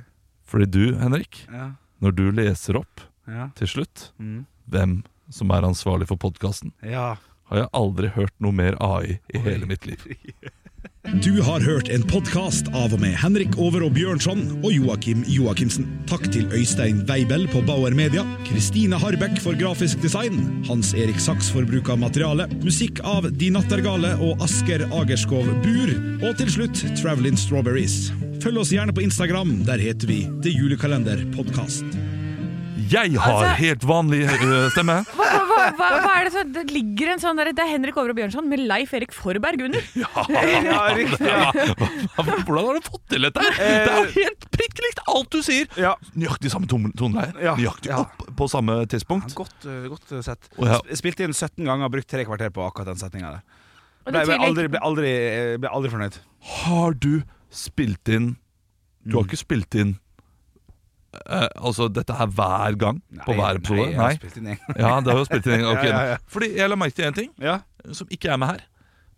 Fordi du, Henrik, Ja. når du leser opp Ja. til slutt Mm. hvem som er ansvarlig for podkasten, ja. har jeg aldri hørt noe mer AI i hele mitt liv. Du har hørt en podkast av og med Henrik Over og Bjørnson og Joakim Joakimsen. Takk til Øystein Weibel på Bauer Media, Kristine Harbekk for grafisk design, Hans Erik Saks for bruk av materiale, musikk av De Nattergale og Asker Agerskov Bur, og til slutt Travelin' Strawberries. Følg oss gjerne på Instagram, der heter vi Det Julekalender Podkast. Jeg har Altså- helt vanlig øh, stemme! Hva, hva, hva, hva er det som Det ligger en sånn der, Det er Henrik Over og Bjørnson med Leif Erik Forberg under. ja, riktig. Ja. Hvordan har du fått til dette? her? Eh, Det er jo helt prikk likt alt du sier! Ja. Nøyaktig samme tone- toneleie. Ja, Nøyaktig ja. opp på samme tidspunkt. Godt, eh, godt eh, sett. Og ja. Sp- Spilte inn 17 ganger, brukt tre kvarter på akkurat den setninga der. Og det Ble, tviler ble, jeg aldri, ble, aldri, eh, ble aldri fornøyd. Har du spilt inn Du Mm. har ikke spilt inn eh, altså dette her hver gang? på hver episode? Nei. Nei. jeg har spilt inn en gang. Ja, det har jo spilt inn. ok. Ja, ja, ja. Fordi jeg la merke til én ting Ja. som ikke er med her.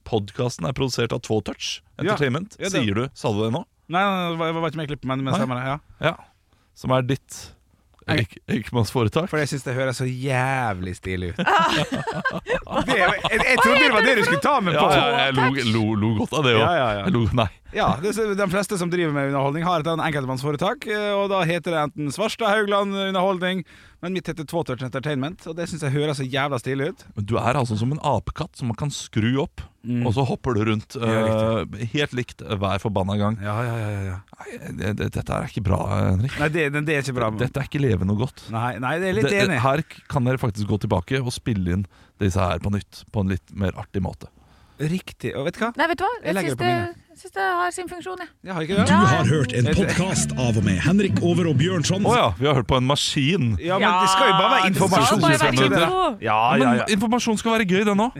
Podkasten er produsert av Två Touch Ja. Entertainment. Ja, det- Sier du sa du det nå? Nei, nei, det var- det var ikke med i klippet, men, men Nei. stemmer det. Ja. Ja. Som er ditt Nei. ek- ekmannsforetak? For jeg syns det høres så jævlig stilig ut. det, er jo- jeg, jeg trodde det var det du skulle ta med Ja, på. ja, jeg lo, lo, lo godt av det òg. Ja, ja, ja. Jeg lo- Nei. Ja, det, så De fleste som driver med underholdning, har et enkeltmannsforetak. eh, Og da heter det enten Svarstad Haugland Underholdning, men mitt heter Tvåtouch Entertainment. Og det syns jeg høres så jævla stilig ut. Men du er altså som en apekatt som man kan skru opp, Mm. og så hopper du rundt Ja, eh, helt likt hver forbanna gang. Ja, ja, ja, ja. Nei, det, det, dette er ikke bra, Henrik. Nei, det, det, det er ikke bra. Dette er ikke levende og godt. Nei, nei, det er jeg litt Det- enig. i. Her kan dere faktisk gå tilbake og spille inn disse her på nytt. På en litt mer artig måte. Riktig. Og vet du hva? Nei, vet du hva? Jeg Jeg legger syns det på det, syns det har sin funksjon, jeg. Jeg har ikke det. Du har hørt en podkast av og med Henrik Over og Bjørnson. Å ja, vi har hørt på en maskin! Ja, men det skal jo bare være det skal informasjon. bare skal være vi info. Ja, ja, Men ja. informasjon skal være gøy, den òg.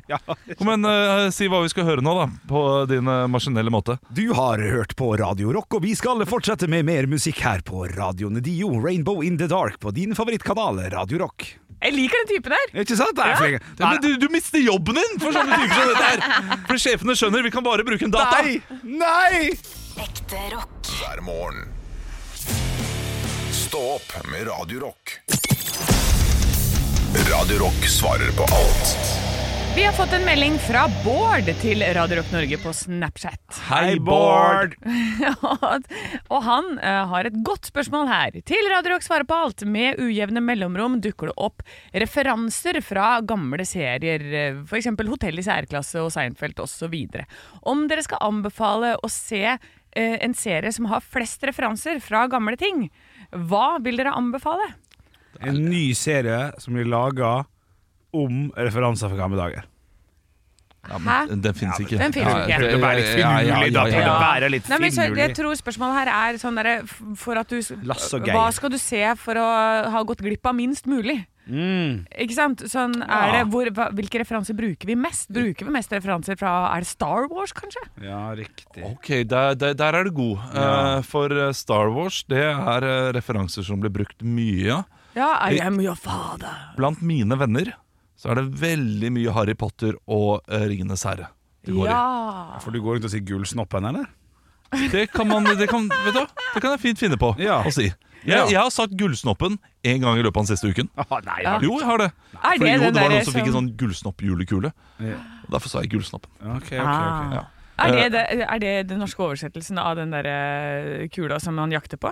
Kom igjen, eh, si hva vi skal høre nå, da. På din eh, maskinelle måte. Du har hørt på Radio Rock, og vi skal fortsette med mer musikk her på Radio Nedio, Rainbow in the Dark, på din favorittkanal Radio Rock. Jeg liker den typen her. Ikke sant? Det er flink. Ja, men du, du mister jobben din for sånne typer som dette her! For sjefene skjønner, vi kan bare bruke en data. Nei! Nei! Ekte rock. hver morgen. Stå opp med Radio Rock. Radio Rock svarer på alt. Vi har fått en melding fra Bård til Radio Rock Norge på Snapchat. Hei, Bård! og han eh, har et godt spørsmål her. Til Radio Rock svarer på alt. Med ujevne mellomrom dukker det opp referanser fra gamle serier, eh, For eksempel Hotell i særklasse og Seinfeld osv. Om dere skal anbefale å se eh, en serie som har flest referanser fra gamle ting, hva vil dere anbefale? En ny serie som blir laga om referanser fra gamle dager. Ja, Hæ? men den fins ikke. Den finnes ikke. det- Det blir litt ja, ja, finurlig, da. ja, ja, Det ja. blir litt Nei, men så, jeg finurlig. tror spørsmålet her er sånn derre f- For at du s- Lasse og Geir. Hva skal du se for å ha gått glipp av minst mulig? Mm. Ikke sant? Sånn er det hvor, hva, Hvilke referanser bruker vi mest? Bruker vi mest referanser fra Er det Star Wars, kanskje? Ja, riktig. Ok, der, der, der er du god. Eh, for eh, Star Wars det er eh, referanser som blir brukt mye. Ja, I am your father. Blant mine venner så er det veldig mye Harry Potter og eh, Ringenes herre. Det går i. Ja. For du går rundt og sier Gullsnoppen, eller? Det kan man det kan, vet du, hva? det kan jeg fint finne på Ja. å si. Jeg, Ja. jeg har sagt Gullsnoppen én gang i løpet av den siste uken. Å, nei, Ja. Jo, jeg har det. Er For det jo, den det var derre noen som fikk en sånn gullsnopp-julekule. Ja. Og Derfor sa jeg Gullsnoppen. Ok, ok, ok. Ah. Er det, det, eh, er det den norske oversettelsen av den derre kula som han jakter på?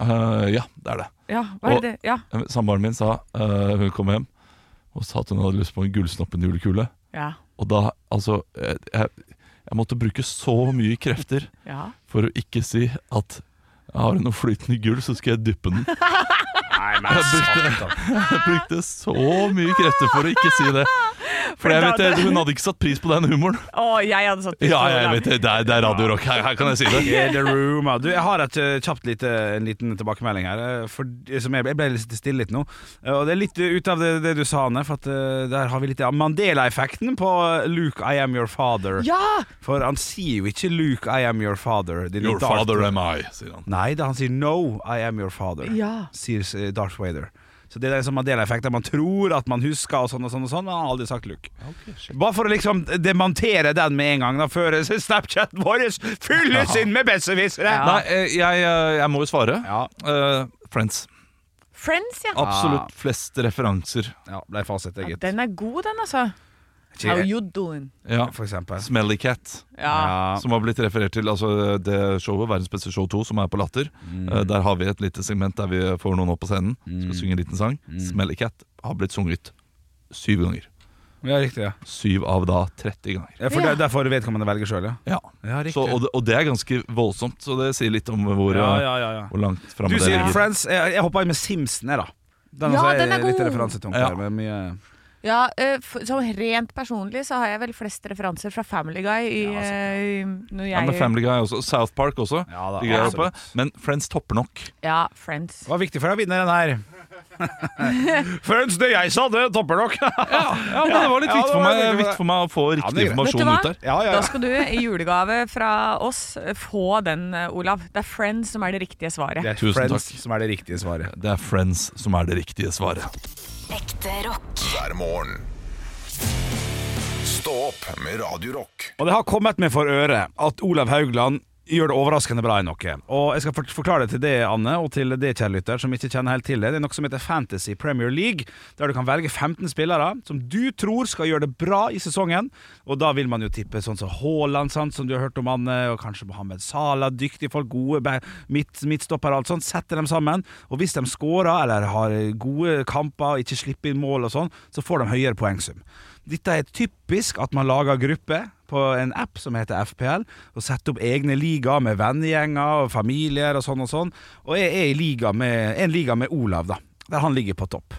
Eh, ja, det er det. Ja, hva Og- er det? Ja, Samboeren min sa eh, Hun kom hjem og sa at hun hadde lyst på en Gullsnoppen-julekule. ja, Og da, altså eh, jeg, jeg måtte bruke så mye krefter ja. for å ikke si at har du noe flytende gull, så skal jeg dyppe den. Nei, men Jeg brukte så mye krefter for å ikke si det. For jeg da- vet, eh, Hun hadde ikke satt pris på den humoren. Å, jeg hadde satt Ja, på det jeg da. vet det. Det er, det er Radio Rock. Her, her kan jeg si det. Yeah, the rumor. Du, jeg har et eh, kjapt lite, en liten tilbakemelding her. eh, For, som jeg, jeg ble litt stille litt nå. Eh, Og Det er litt ut av det, det du sa, Anne, for at, eh, der har vi litt av Mandela-effekten på eh, Luke, I am your father. Ja! For han sier jo ikke Luke, I am your father. din Your Darth- father am I, sier han. Nei, da han sier no, I am your father, Ja. sier eh, Darth Vader. Så det er en sånn Mandela-effekt der man tror at man husker og sånn og sånn, og sånn men han har aldri sagt Luke. Bare for å liksom demontere den med en gang, da, før Snapchaten vår fylles inn med besserwissere! Ja. Nei, eh, jeg, eh, jeg må jo svare. Ja. Ah. Eh, Friends. Friends, ja. Absolutt flest referanser. Ja, ble fasit, jeg, ja. gitt. Den er god, den, altså. How Ikke- you doing? Ja. For eksempel. Smelly Cat, Ja. Ja. som har blitt referert til. Altså det showet, Verdens beste show 2, som er på Latter. Mm. Eh, Der har vi et lite segment der vi får noen opp på scenen. Skal synge en liten sang. Mm. Smelly Cat har blitt sunget syv ganger. ja, riktig. ja, Syv av da 30 ganger. ja For Ja. der- Derfor vedkommende velger sjøl, ja. Ja, Ja, riktig. så, og, det, og det er ganske voldsomt, så det sier litt om hvor, eh, Ja, ja, ja, ja. hvor langt framme Du det sier ligger. Friends. Jeg, jeg hoppa inn med Simpson, jeg, da. Den, Ja, også den er litt god. referansetung. Ja. der, men mye- Ja, eh, f- så rent personlig så har jeg vel flest referanser fra Family Guy i, Ja, sant. eh, når jeg Ja, men Family Guy også. South Park også. Ja, da, de greier absolutt. oppe. Men Friends topper nok. Ja, Friends. Det var viktig for deg å vinne den her. Friends, det jeg sa, det topper nok. Ja, men Det var litt Ja, viktig det for var meg, veldig bra. viktig for meg å få Ja, riktig det er greit. Vet informasjon du hva? ut der. ja, ja, Da ja. skal du i julegave fra oss eh, få den, eh, Olav. Det er Friends som er det riktige svaret. Det er Tusen Friends takk. som er det riktige svaret. Det er Friends som er det riktige svaret. Ekte rock. hver morgen. Stå opp med Radio Rock. Og det har kommet meg for øre at Olav Haugland gjør det overraskende bra i noe. Og jeg skal for- forklare det til deg, Anne, og til deg, kjære lytter, som ikke kjenner helt til det. Det er noe som heter Fantasy Premier League, der du kan velge 15 spillere som du tror skal gjøre det bra i sesongen. Og da vil man jo tippe sånn som Haaland, sant, som du har hørt om, Anne, og kanskje Mohammed Salah, dyktige folk, gode be- midt, midtstoppere og alt sånt. Setter dem sammen, og hvis de scorer eller har gode kamper, ikke slipper inn mål og sånn, så får de høyere poengsum. Dette er typisk at man lager grupper på en app som heter FPL, og setter opp egne ligaer med vennegjenger og familier og sånn og sånn. Og jeg er i liga med, en liga med Olav, da, der han ligger på topp.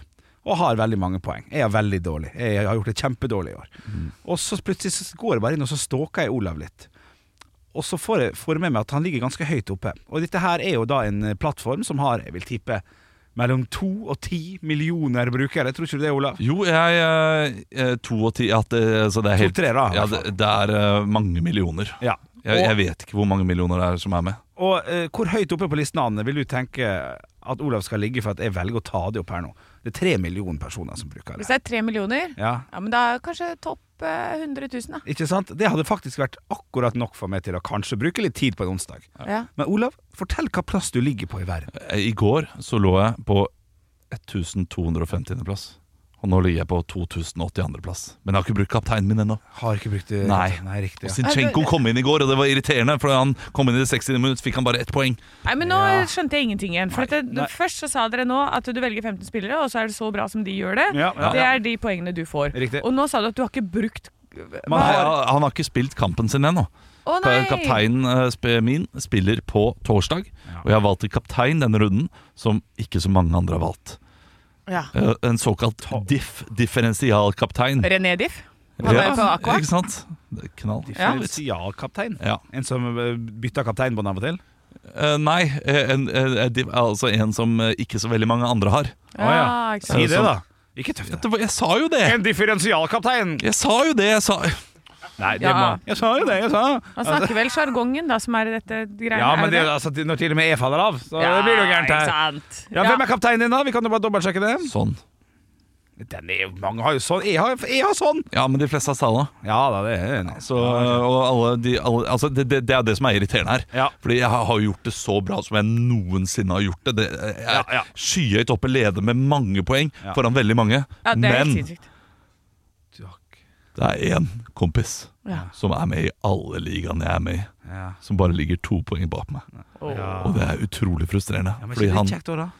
Og har veldig mange poeng. Jeg er veldig dårlig. Jeg har gjort det kjempedårlig i år. Mm. Og så plutselig så går jeg bare inn og så stalker jeg Olav litt. Og så får jeg, får jeg med meg at han ligger ganske høyt oppe. Og dette her er jo da en eh, plattform som har, jeg vil tippe, mellom to og ti millioner brukere. Tror ikke du det, Olav? Jo, jeg eh, eh, To og ti ja, det, så det er helt, To-tre, da. i ja, hvert det, fall. det er eh, mange millioner. Ja. Jeg, Og- jeg vet ikke hvor mange millioner det er som er med. Og eh, hvor høyt oppe på listen Anne, vil du tenke at Olav skal ligge for at jeg velger å ta det opp her nå? Det er tre millioner personer som bruker Hvis det. det er tre millioner, Ja. ja, men da er kanskje topp eh, 100 000, da. Ikke sant? Det hadde faktisk vært akkurat nok for meg til å kanskje bruke litt tid på en onsdag. Ja. Men Olav, fortell hva plass du ligger på i verden. Eh, I går så lå jeg på 1250. plass. Og nå ligger jeg på 2082. plass. Men jeg har ikke brukt kapteinen min ennå. Har ikke brukt det. Nei. Nei riktig. Og Ja. Sinchenko kom inn i går, og det var irriterende. For han kom inn i det 60. minutt, fikk han bare ett poeng. Nei, men nå skjønte jeg ingenting igjen. For at det, nei. Først så sa dere nå at du velger 15 spillere, og så er det så bra som de gjør det. Ja, ja, Det ja. er de poengene du får. Riktig. Og nå sa du at du har ikke brukt Man Nei, har, han han har ikke spilt kampen sin ennå. Å nei! Kapteinen eh, sp- min spiller på torsdag, og jeg har valgt en kaptein denne runden som ikke så mange andre har valgt. Ja. Eh, En såkalt diff, differensialkaptein. René Diff. Han er på Ja, Aqua. ikke sant? Det er knall. Differensialkaptein. Ja. En som eh, bytter kapteinbånd av og til. Eh, nei, eh, en, eh, diff, altså en som eh, ikke så veldig mange andre har. ja. Å, Ah, ikke Si sant. det, da. Ikke tøft. Det var- Jeg sa jo det! En differensialkaptein! Jeg sa jo det! Jeg sa. Nei, det Ja. må Jeg sa jo det, jeg sa. Han snakker vel sjargongen, da, som er i dette greiene. Ja, er men det, det det? altså, når til og med jeg faller av, så blir det jo gærent her. Ja, ikke sant. Ja, Hvem er kapteinen din, da? Vi kan jo bare dobbeltsjekke det. Sånn. Den er, jo- mange har jo sånn. Jeg har, jeg har sånn! Ja, men de fleste har Salah. Ja da, det er enig. Så, og alle de, alle, altså det, det, det er det som er irriterende her. Ja. Fordi jeg har har gjort det så bra som jeg noensinne har gjort det. det jeg er Ja, ja. skyhøyt oppe, leder med mange poeng Ja. foran veldig mange. Ja, det er helt Men sinnssykt. det er én kompis Ja. som er med i alle ligaene jeg er med i, Ja. som bare ligger to poeng bak meg. Og det er utrolig frustrerende. Ja, men fordi, ikke han, litt kjekt også, da.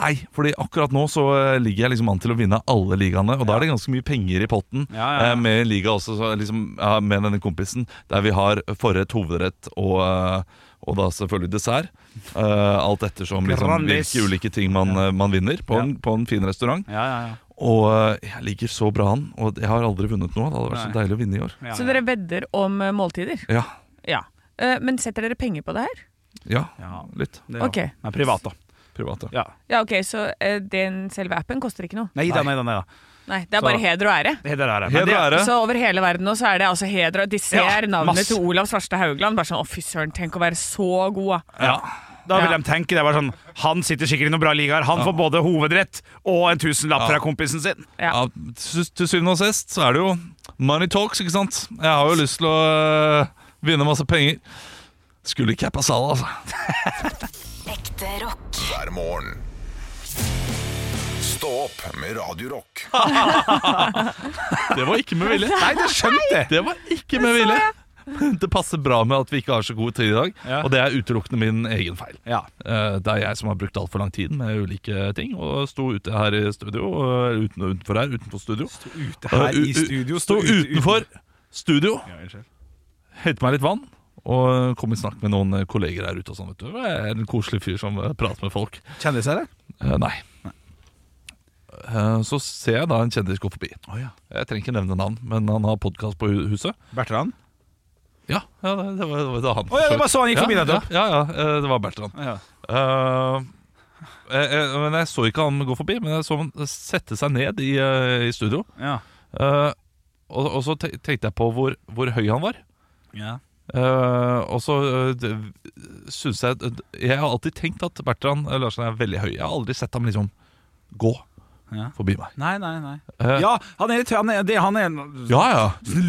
nei, fordi akkurat nå så eh, ligger jeg liksom an til å vinne alle ligaene, og da er det ganske mye penger i potten. Ja, ja, ja. eh, Med en liga også, så liksom, ja, med denne kompisen, der vi har forrett, hovedrett og, eh, og da selvfølgelig dessert. Eh, alt ettersom liksom, Grandis. hvilke ulike ting man, eh, man vinner på, en, på en fin restaurant. Ja, ja, ja. Og eh, jeg ligger så bra an, og jeg har aldri vunnet noe. Det hadde vært så Nei. deilig å vinne i år. Ja, Så dere vedder om eh, måltider? Ja, Ja. Eh, Men setter dere penger på det her? ja, Ja. litt Det er jo- Ok. Nei, privat, da. privat. Ja. Ja. Ja, ok, Så eh, den selve appen koster ikke noe? Nei da, nei da. Nei, da. Nei, Det er Så- bare heder og ære. Heder og ære. Men Heder og ære. Så over hele verden nå så er det altså heder og De ser Ja, navnet masse. til Olav Svarstad Haugland. Bare sånn, å fy søren, tenk å være så god, da. Ja. Da vil Ja. de tenke det var sånn Han sitter sikkert i noen bra ligaer. Han får både hovedrett og en tusenlapp fra kompisen sin. Ja. til til syvende og sist så er det jo money talks, ikke sant? Jeg har jo lyst til å eh, vinne masse penger. Skulle ikke jeg på salen, altså. Ekte rock. hver morgen. Stå opp med Radio Rock. Det var ikke med vilje. Nei, det skjønte jeg! Det var ikke med vilje. Det passer bra med at vi ikke har så god tid i dag, Ja. og det er utelukkende min egen feil. Ja. Eh, Det er jeg som har brukt altfor lang tid med ulike ting, og sto ute her i studio, eh, uten, utenfor her, utenfor studio. Stå Ute her i studio. Stå ute- utenfor studio, Ja, unnskyld. hente meg litt vann, og kom i snakk med noen eh, kolleger her ute og sånn, vet du. Jeg er en koselig fyr som eh, prater med folk. Kjendiser, eller? Eh, Nei. Eh, Så ser jeg da en kjendis gå forbi. Jeg trenger ikke nevne navn, men han har podkast på hu- huset. Bertrand? Ja, ja det, det, var, det var han. Å ja, det var så han gikk forbi ja, nettopp. Ja, ja, ja, eh, det var Bertrand. Ja. Eh, jeg, jeg, men jeg så ikke han gå forbi, men jeg så han sette seg ned i, eh, i studio. Ja. Eh, og, og så te- tenkte jeg på hvor, hvor høy han var. Ja. Eh, og så eh, det- synes jeg Jeg har alltid tenkt at Bertrand Larsen er veldig høy. Jeg har aldri sett ham liksom gå Ja. forbi meg. Nei, nei, nei. Eh, Ja, han er, han er, det, han er ja, ja.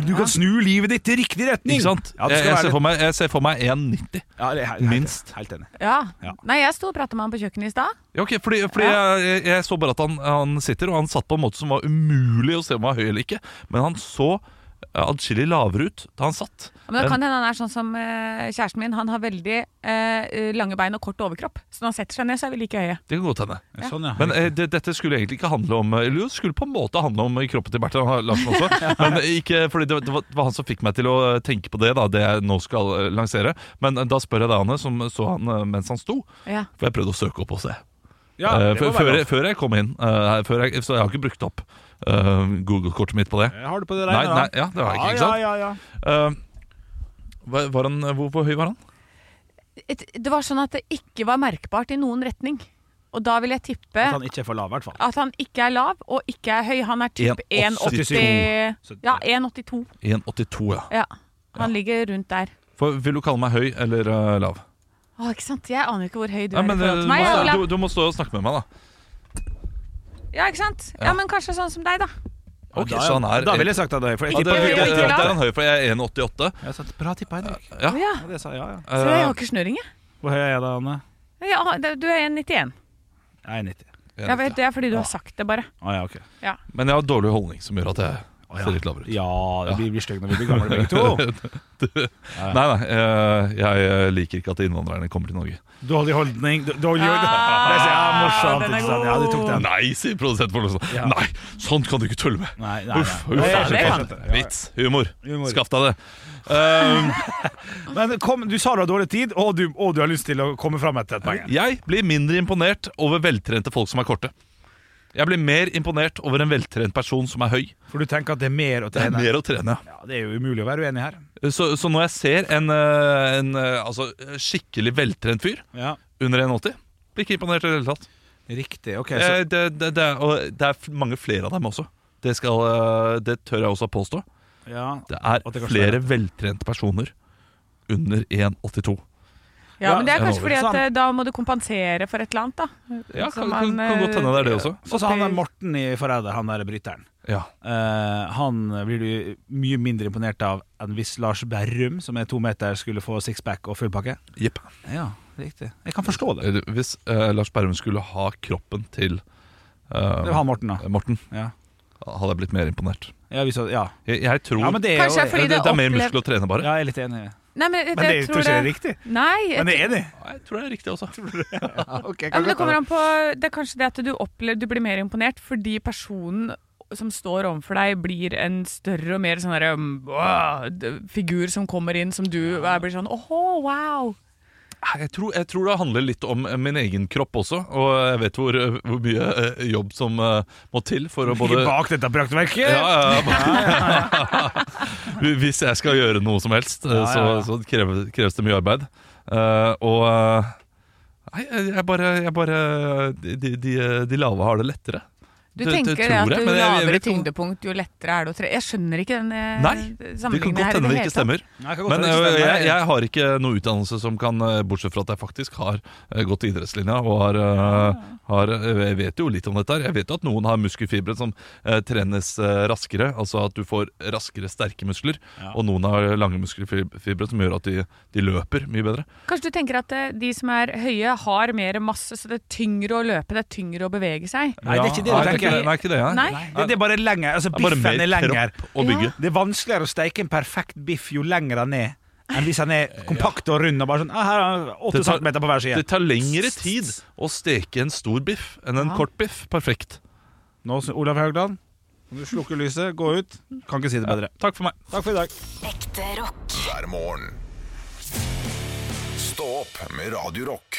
Du kan snu livet ditt i riktig retning! Ikke sant? Ja, du jeg, skal jeg, være ser litt- for meg, jeg ser for meg 1,90. Ja, det er helt- helt- Minst. Helt enig. Ja. Ja. Nei, jeg sto og prata med han på kjøkkenet i stad. Ja, ok, fordi, fordi jeg, jeg, jeg så bare at han, han sitter, og han satt på en måte som var umulig å se om han var høy eller ikke. Men han så eh, adskillig lavere ut da han satt. Men det kan hende han er sånn som eh, kjæresten min. Han har veldig eh, lange bein og kort overkropp. Så når han setter seg ned, så er vi like høye. Det kan godt hende. Sånn, ja. Men eh, det, dette skulle egentlig ikke handle om eh, Eller jo, det skulle på en måte handle om kroppen til Bertrand Larsen også. Men ikke, fordi det, det, var, det var han som fikk meg til å eh, tenke på det, da, det jeg nå skal eh, lansere. Men eh, da spør jeg deg, Anne, som så han eh, mens han sto. Ja. For jeg prøvde å søke opp og se. ja, Eh, det før, må være før, lov. jeg, før jeg kom inn. eh, før jeg, så jeg har ikke brukt opp eh, Google-kortet mitt på det. Har du på det Nei, regnet, nei, da? ja, det har jeg ikke, ikke sant? Ja, ja, ja, ja. Eh, var, var han, hvor, hvor høy var han? Et, det var sånn at det ikke var merkbart i noen retning. Og da vil jeg tippe At han ikke er for lav, i hvert fall. at han ikke er lav og ikke er høy. Han er typ 1,82. 1,80 Ja, 1,82. 1,82, ja. Ja. Han ligger rundt der. For, vil du kalle meg høy eller eh, lav? Å, ikke sant? Jeg aner jo ikke hvor høy du Nei, er men, i eh, forhold til meg. du, må, Olav. stå- du, du må stå og snakke med meg, da. Ja, ikke sant? Ja. men kanskje sånn som deg, da. Ok, da, så han er Da ville jeg sagt at det er ja, for ikke det, det, høy, det, ikke det lav. er han høy, for jeg er 1,88. Jeg sa, Bra tippa, Henrik. Ja. Å, ja. Ja, det sa, ja, ja. Så jeg har Eh, ikke snøring, jeg. Hvor høy er jeg da, Anne? Ja, det- du er 1,91. Jeg er 90. Jeg vet, det er fordi du har sagt det, bare. Å, ja, ok. Men jeg har dårlig holdning, som gjør at jeg ja. ser litt lavere ut. ja, det blir, blir stygg når vi blir gamle begge to. Nei, nei, eh, jeg eh, liker ikke at innvandrerne kommer til Norge. Dårlig holdning d- Dårlig holdning Ah! Det er så- ja, morsomt. den er ikke sant? Ja, du tok den. Nei, sier produsent for Låsen. Ja. Nei, sånn kan du ikke tulle med! Nei, nei, Uff, nei. uff. Jeg skjønte, jeg uff. skjønte. Ja, ja. Vits, humor. Humor. Skaff deg det. Um, Men kom, du sa du har dårlig tid, og du, og du har lyst til å komme fram etter et poeng. Jeg blir mindre imponert over veltrente folk som er korte. Jeg blir mer imponert over en veltrent person som er høy. For du tenker at det er mer å Det er trene. mer å trene. Ja, det er jo umulig å være uenig her. Så, så når jeg ser en, eh, en eh, altså, skikkelig veltrent fyr Ja, under 1,80 blir ikke imponert i det hele tatt. Riktig. ok Eh, så, Det, det, det, er- og det er f- mange flere av dem også. Det, skal, eh, det tør jeg også påstå. ja. Det er At det kanskje er flere veltrente personer under 1,82. Ja, men det er Ja, kanskje fordi at sant. eh, da må du kompensere for et eller annet, da. Ja, Så kan, kan, man, kan godt hende det er eh, det også. Sånn som han der Morten i Forræder, han der bryteren. Ja. Eh, han blir du mye mindre imponert av enn hvis Lars Berrum, som er to meter, skulle få sixpack og full pakke. Jepp. Ja, riktig. Jeg kan forstå det. Eller Hvis eh, Lars Berrum skulle ha kroppen til eh, Det var han Morten, da. Morten, Ja, hadde jeg blitt mer imponert. ja, vi så, ja. Jeg, jeg tror ja men det er Kanskje jo fordi det, det, er mer opplev- muskler å trene, bare. Ja, jeg er litt enig. Nei, men, Men det jeg tror tror ikke det det er riktig. Nei, jeg, Men jeg er enig. Ja, jeg tror det er riktig også. ja, men det kommer an på Det er kanskje det at du opplever Du blir mer imponert fordi personen som står overfor deg, blir en større og mer sånn derre um, wow, d- figur som kommer inn som du er- blir sånn åhå, wow. jeg tror, jeg tror det handler litt om eh, min egen kropp også, og jeg vet hvor, eh, hvor mye eh, jobb som eh, må til for å både Ligger bak dette praktverket! ja, ja, ja. Hvis jeg skal gjøre noe som helst, eh, Ja, ja, ja. så, så kreves, kreves det mye arbeid. Eh, og eh, Nei, jeg bare, jeg bare de, de, de, eh, de lave har det lettere. Du Det- det tenker at tror jeg, jo men jeg- jeg lavere vet ikke om- tyngdepunkt, jo lettere er det å tre... Jeg skjønner ikke den eh, Nei, Det kan sammenligningen godt her i hende det hele tatt. ikke stemmer. Nei, kan godt Men hende det eh, ikke stemmer. jeg, jeg har ikke noe utdannelse som kan eh, Bortsett fra at jeg faktisk har eh, gått til idrettslinja og har, eh, Ah. har eh, Jeg vet jo litt om dette her. Jeg vet jo at noen har muskelfibre som eh, trenes eh, raskere. Altså at du får raskere, sterke muskler. Og noen har lange muskelfibre som gjør at de, de løper mye bedre. Kanskje du tenker at eh, de som er høye, har mer masse, så det er tyngre å løpe, det er tyngre å bevege seg? Nei, det er ikke det Nei, du det er ikke det, tenker. nei, ikke det, nei. Nei? Det, det er bare lenger. Altså, Det er bare biffen mer er lenger. kropp å bygge. Det er vanskeligere å steike en perfekt biff jo lenger den er, enn hvis den er kompakt og rund og bare sånn ah, Her er 8 Det tar- cm på hver side. Det tar lengre tid å steke en stor biff enn en kort biff. Perfekt. Nå, Olav Haugland, kan du slukke lyset, gå ut. Kan ikke si det bedre. Takk for meg. Takk for i dag. Ekte rock. hver morgen. Stå opp med Radio Rock.